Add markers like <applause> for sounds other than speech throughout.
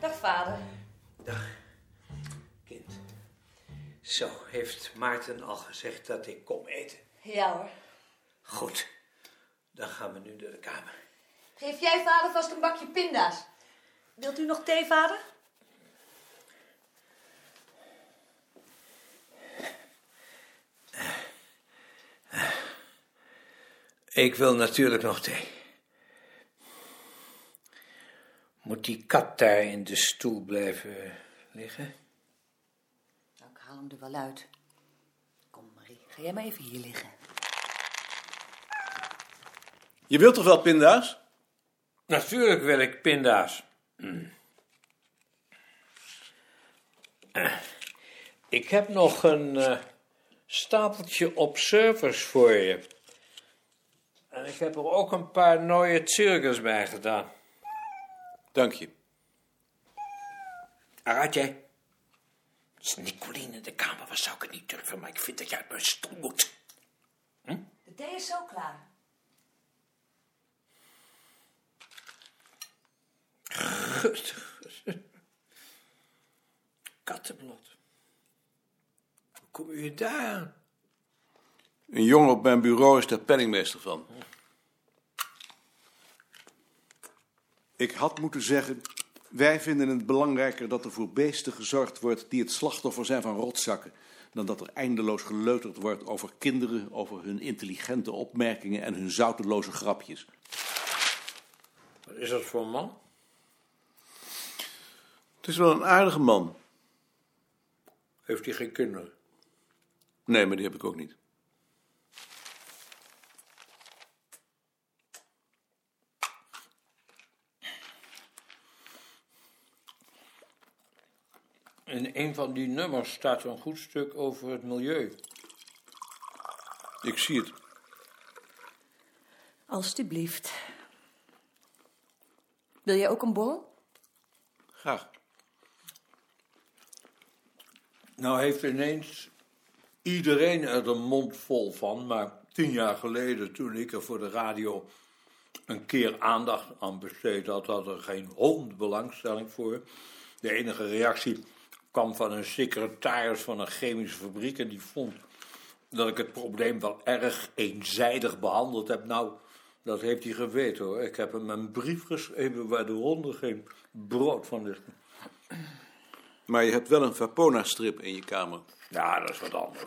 vader. Kind. Zo, heeft Maarten al gezegd dat ik kom eten? Ja hoor. Goed. Dan gaan we nu naar de kamer. Geef jij vader vast een bakje pinda's. Wilt u nog thee, vader? Ik wil natuurlijk nog thee. Moet die kat daar in de stoel blijven liggen? Nou, ik haal hem er wel uit. Kom, Marie. Ga jij maar even hier liggen. Je wilt toch wel pinda's? Natuurlijk wil ik pinda's. Mm. Eh, Ik heb nog een eh, stapeltje observers voor je. En ik heb er ook een paar nieuwe cirkels bij gedaan. Dank je. Aratje. Als Nicoline in de kamer was, zou ik het niet durven, maar ik vind dat jij uit mijn stoel moet. De thee is zo klaar. <laughs> Kattenblad. Hoe kom je daar aan? Een jongen op mijn bureau is daar penningmeester van. Ik had moeten zeggen... wij vinden het belangrijker dat er voor beesten gezorgd wordt... die het slachtoffer zijn van rotzakken... dan dat er eindeloos geleuterd wordt over kinderen... over hun intelligente opmerkingen en hun zouteloze grapjes. Wat is dat voor een man? Het is wel een aardige man. Heeft hij geen kinderen? Nee, maar die heb ik ook niet. In een van die nummers staat een goed stuk over het milieu. Ik zie het. Alsjeblieft. Wil jij ook een borrel? Graag. Nou heeft ineens iedereen er een mond vol van, maar tien jaar geleden toen ik er voor de radio een keer aandacht aan besteed had, had er geen hond belangstelling voor. De enige reactie kwam van een secretaris van een chemische fabriek en die vond dat ik het probleem wel erg eenzijdig behandeld heb. Nou, dat heeft hij geweten hoor. Ik heb hem een brief geschreven waar de honden geen brood van is. Maar je hebt wel een Vapona-strip in je kamer. Ja, dat is wat anders.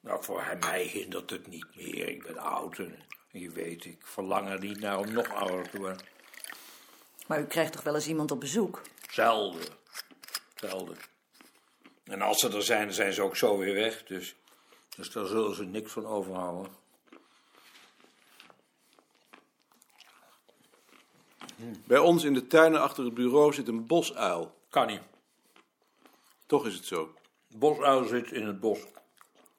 Nou, voor hem- mij hindert het niet meer. Ik ben oud en je weet, ik verlang er niet naar om nog ouder te worden. Maar u krijgt toch wel eens iemand op bezoek? Zelden. Zelden. En als ze er zijn, dan zijn ze ook zo weer weg. Dus, dus daar zullen ze niks van overhouden. Bij ons in de tuinen achter het bureau zit een bosuil. Kan niet. Toch is het zo. Bosuil zit in het bos.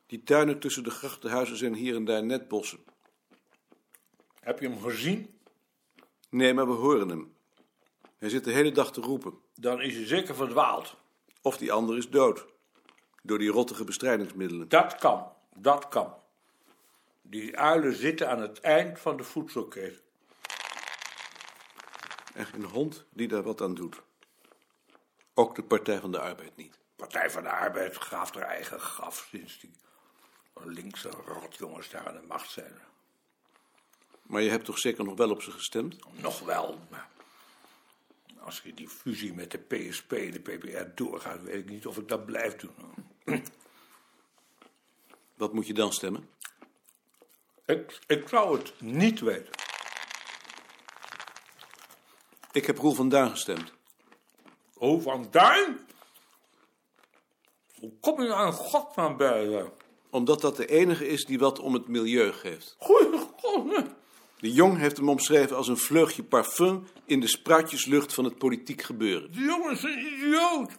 Die tuinen tussen de grachtenhuizen zijn hier en daar net bossen. Heb je hem gezien? Nee, maar we horen hem. Hij zit de hele dag te roepen. Dan is hij zeker verdwaald. Of die ander is dood. Door die rottige bestrijdingsmiddelen. Dat kan, dat kan. Die uilen zitten aan het eind van de voedselketen. En geen hond die daar wat aan doet. Ook de Partij van de Arbeid niet. Partij van de Arbeid graaft haar eigen graf sinds die linkse rotjongens daar aan de macht zijn. Maar je hebt toch zeker nog wel op ze gestemd? Nog wel, maar als je die fusie met de PSP en de PPR doorgaat, weet ik niet of ik dat blijf doen. Wat moet je dan stemmen? Ik, ik zou het niet weten. Ik heb Roel van Duin gestemd. Hoe van Duin? Hoe kom je aan godsnaam bij? eh? hè? Omdat dat de enige is die wat om het milieu geeft. Goeie god, hè? De Jong heeft hem omschreven als een vleugje parfum in de spruitjeslucht van het politiek gebeuren. die jongen is een idioot.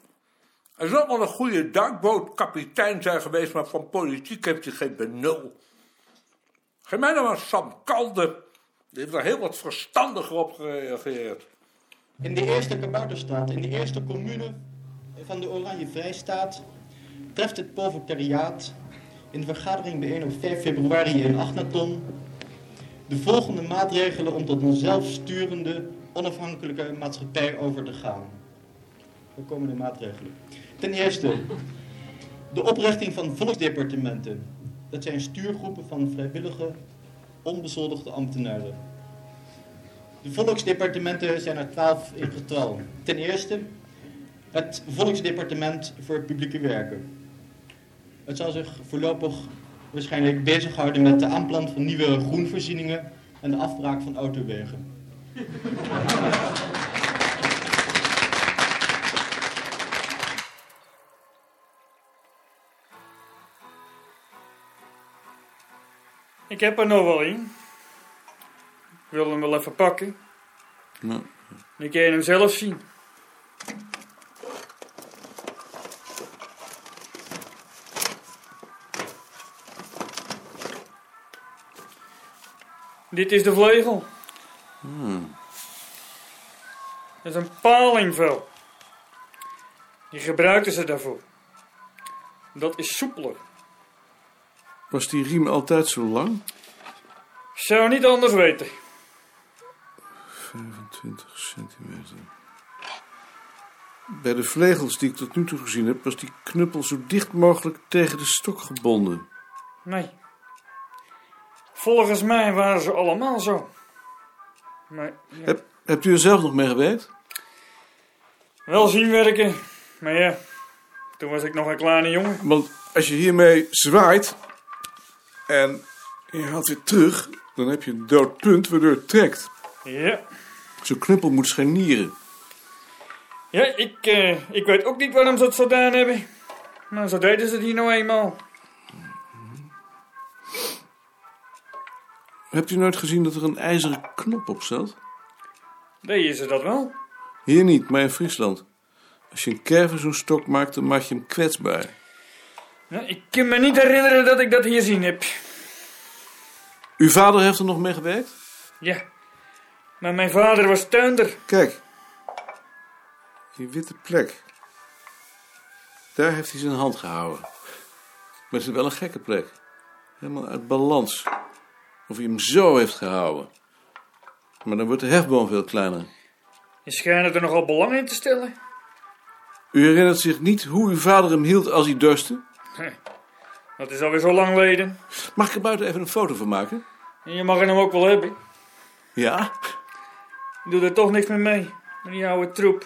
Hij zal wel een goede duikbootkapitein zijn geweest, maar van politiek heeft hij geen benul. Geef mij nou maar Sam Kalde. Die heeft daar heel wat verstandiger op gereageerd. In de eerste kabouterstraat, in de eerste commune van de Oranje Vrijstaat, treft het proletariaat in de vergadering bijeen op 5 februari in Agnaton de volgende maatregelen om tot een zelfsturende, onafhankelijke maatschappij over te gaan. Voorkomende maatregelen. Ten eerste, de oprichting van volksdepartementen. Dat zijn stuurgroepen van vrijwillige, onbezoldigde ambtenaren. De volksdepartementen zijn er twaalf in getal. Ten eerste, het volksdepartement voor publieke werken. Het zal zich voorlopig waarschijnlijk bezighouden met de aanplant van nieuwe groenvoorzieningen en de afbraak van autowegen. Ik heb er nog wel een. Ik wil hem wel even pakken. Nou, Dan kun je hem zelf zien. Dit is de vlegel. Dat is een palingvel. Die gebruikten ze daarvoor. Dat is soepeler. was die riem altijd zo lang? Zou niet anders weten. 25 centimeter. Bij de vlegels die ik tot nu toe gezien heb, was die knuppel zo dicht mogelijk tegen de stok gebonden. Nee. Volgens mij waren ze allemaal zo. Maar ja, Heb, hebt u er zelf nog mee gewerkt? wel zien werken. Maar ja, toen was ik nog een kleine jongen. Want als je hiermee zwaait en je haalt weer terug, dan heb je een dood punt waardoor het trekt. Ja, Zo'n knuppel moet scharnieren. ja ik, eh, ik weet ook niet waarom ze het zo gedaan hebben. Maar zo deden ze het hier nou eenmaal. Hebt u nooit gezien dat er een ijzeren knop op zat? Deden ze dat wel? Hier niet, maar in Friesland. Als je een kerver zo'n stok maakt, dan maak je hem kwetsbaar. Nou, ik kan me niet herinneren dat ik dat hier zien heb. Uw vader heeft er nog mee gewerkt? Ja, maar mijn vader was tuinder. Kijk. Die witte plek. Daar heeft hij zijn hand gehouden. Maar het is wel een gekke plek. Helemaal uit balans. Of hij hem zo heeft gehouden. Maar dan wordt de hefboom veel kleiner. Je schijnt er nogal belang in te stellen. U herinnert zich niet hoe uw vader hem hield als hij dorste? Dat is alweer zo lang geleden. Mag ik er buiten even een foto van maken? En je mag hem ook wel hebben. Ja? Ik doe er toch niks meer mee, met die oude troep.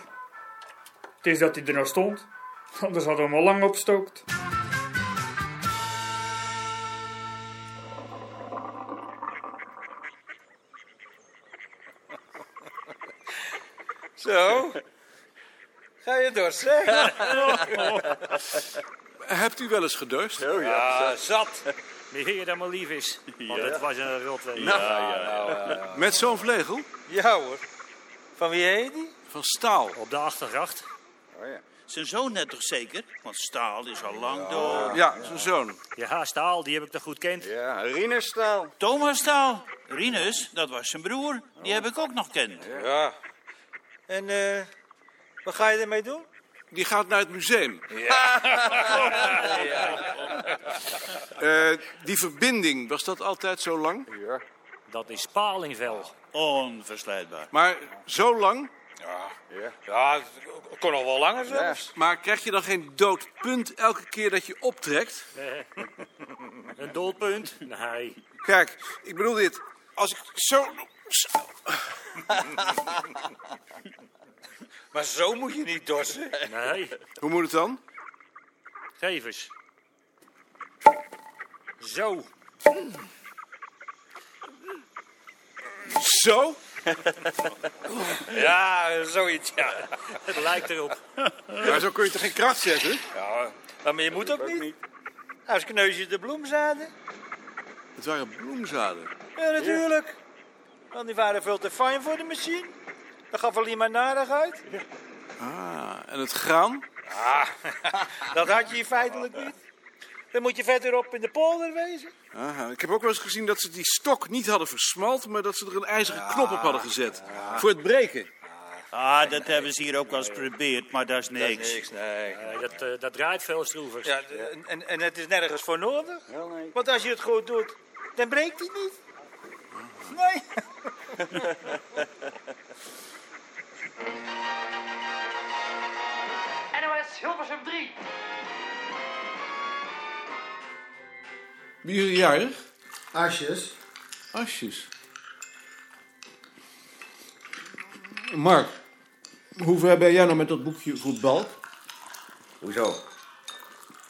Het is dat hij er nog stond, anders hadden we hem al lang opstookt. Zo. Ga je dorst, hè? Hebt u wel eens gedurst? Oh ja, zat. <laughs> Meer dan maar lief is. Want het was een rotweer. Nou. Met zo'n vlegel? Ja hoor. Van wie heet die? Van staal. Op de achtergracht. Zijn zoon net toch zeker? Want Staal is al lang dood. Ja, zijn zoon. Ja, Staal, die heb ik toch goed kent. Ja, Rienerstaal. Thomas Staal. Rinus, dat was zijn broer. Die heb ik ook nog kennen. Ja. En eh, wat ga je ermee doen? Die gaat naar het museum. Eh, die verbinding, was dat altijd zo lang? Dat is Palingvel. Onversluitbaar. Maar zo lang? Ja, het kon nog wel langer zelfs. Maar krijg je dan geen dood punt elke keer dat je optrekt? Een doelpunt? Nee. Kijk, ik bedoel dit. Als ik zo... <laughs> Maar zo moet je niet dorsen. Nee. Hoe moet het dan? Geef eens. Zo. Zo? <laughs> Ja, zoiets, ja. Het lijkt erop. Maar zo kun je toch geen kracht zetten? ja. Maar je moet ook niet. Als kneus je de bloemzaden. Het waren bloemzaden. Ja, natuurlijk. Want die waren veel te fijn voor de machine. Dat gaf alleen maar narigheid. Ah, en het graan? Dat had je hier feitelijk niet. Dan moet je verderop in de polder wezen. Aha, ik heb ook wel eens gezien dat ze die stok niet hadden versmalt... maar dat ze er een ijzeren knop op hadden gezet. Voor het breken. Ah, dat hebben ze hier ook wel eens geprobeerd, maar dat is niks. nee. Nee, dat, eh, dat draait veel stroever. Ja, d- en- en, en het is nergens voor nodig. Want als je het goed doet, dan breekt hij niet. Nee. op drie. Wie is er jarig? Asjes. Asjes. Mark, hoe ver ben jij nou met dat boekje voetbal? Hoezo?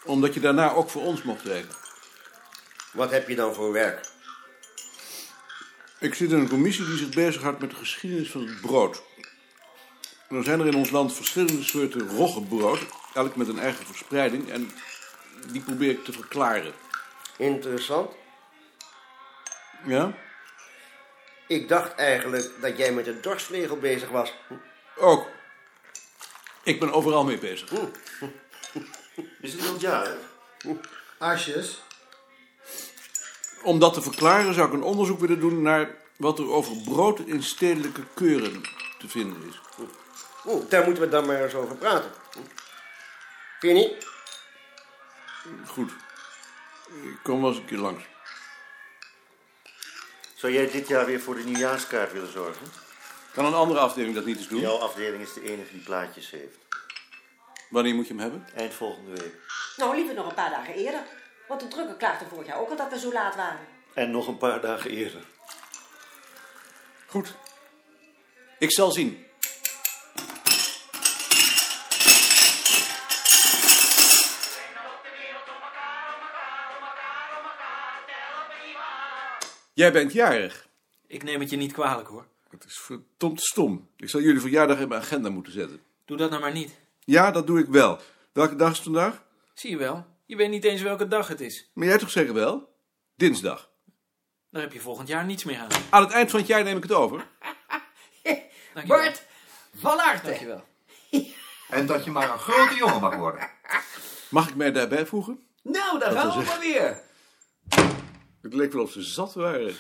Omdat je daarna ook voor ons mocht werken. Wat heb je dan voor werk? Ik zit in een commissie die zich bezighoudt met de geschiedenis van het brood. En dan zijn er in ons land verschillende soorten roggebrood, elk met een eigen verspreiding, en die probeer ik te verklaren. Interessant. Ja? Ik dacht eigenlijk dat jij met de dorstvlegel bezig was. Ook. Ik ben overal mee bezig. Is het al jaren? Asjes. Om dat te verklaren zou ik een onderzoek willen doen naar wat er over brood in stedelijke keuren te vinden is. Oeh, daar moeten we dan maar eens over praten. Vind je niet? Goed. Ik kom wel eens een keer langs. Zou jij dit jaar weer voor de nieuwjaarskaart willen zorgen? Kan een andere afdeling dat niet eens doen? Jouw afdeling is de enige die plaatjes heeft. Wanneer moet je hem hebben? Eind volgende week. Nou, liever nog een paar dagen eerder. Want de drukker klaagde vorig jaar ook al dat we zo laat waren. En nog een paar dagen eerder. Goed. Ik zal zien. Jij bent jarig. Ik neem het je niet kwalijk hoor. Het is verdomd stom. Ik zal jullie verjaardag in mijn agenda moeten zetten. Doe dat nou maar niet. Ja, dat doe ik wel. Welke dag is het vandaag? Zie je wel, je weet niet eens welke dag het is. Maar jij toch zeggen wel? Dinsdag. Daar heb je volgend jaar niets meer aan. Aan het eind van het jaar neem ik het over. Dankjewel. Bart van Aert. Dankjewel. En dat je maar een grote jongen mag worden. Mag ik mij daarbij voegen? Nou, daar Dat gaan was we echt- maar weer. Het leek wel of ze zat waren.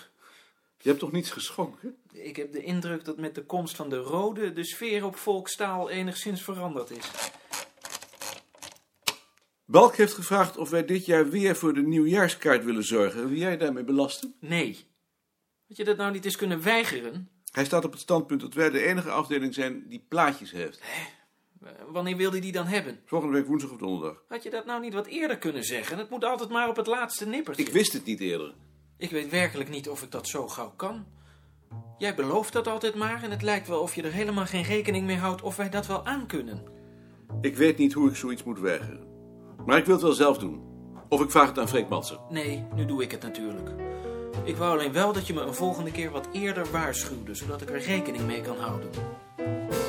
Je hebt toch niets geschonken? Ik heb de indruk dat met de komst van de rode de sfeer op volkstaal enigszins veranderd is. Balk heeft gevraagd of wij dit jaar weer voor de nieuwjaarskaart willen zorgen. Wil jij daarmee belasten? Nee. Had je dat nou niet eens kunnen weigeren? Hij staat op het standpunt dat wij de enige afdeling zijn die plaatjes heeft. Eh, Wanneer wilde je die dan hebben? Volgende week woensdag of donderdag. Had je dat nou niet wat eerder kunnen zeggen? Het moet altijd maar op het laatste nippertje. Ik wist het niet eerder. Ik weet werkelijk niet of ik dat zo gauw kan. Jij belooft dat altijd maar en het lijkt wel of je er helemaal geen rekening mee houdt of wij dat wel aankunnen. Ik weet niet hoe ik zoiets moet weigeren. Maar ik wil het wel zelf doen. Of ik vraag het aan Freek Matsen. Nee, nu doe ik het natuurlijk. Ik wou alleen wel dat je me een volgende keer wat eerder waarschuwde, zodat ik er rekening mee kan houden.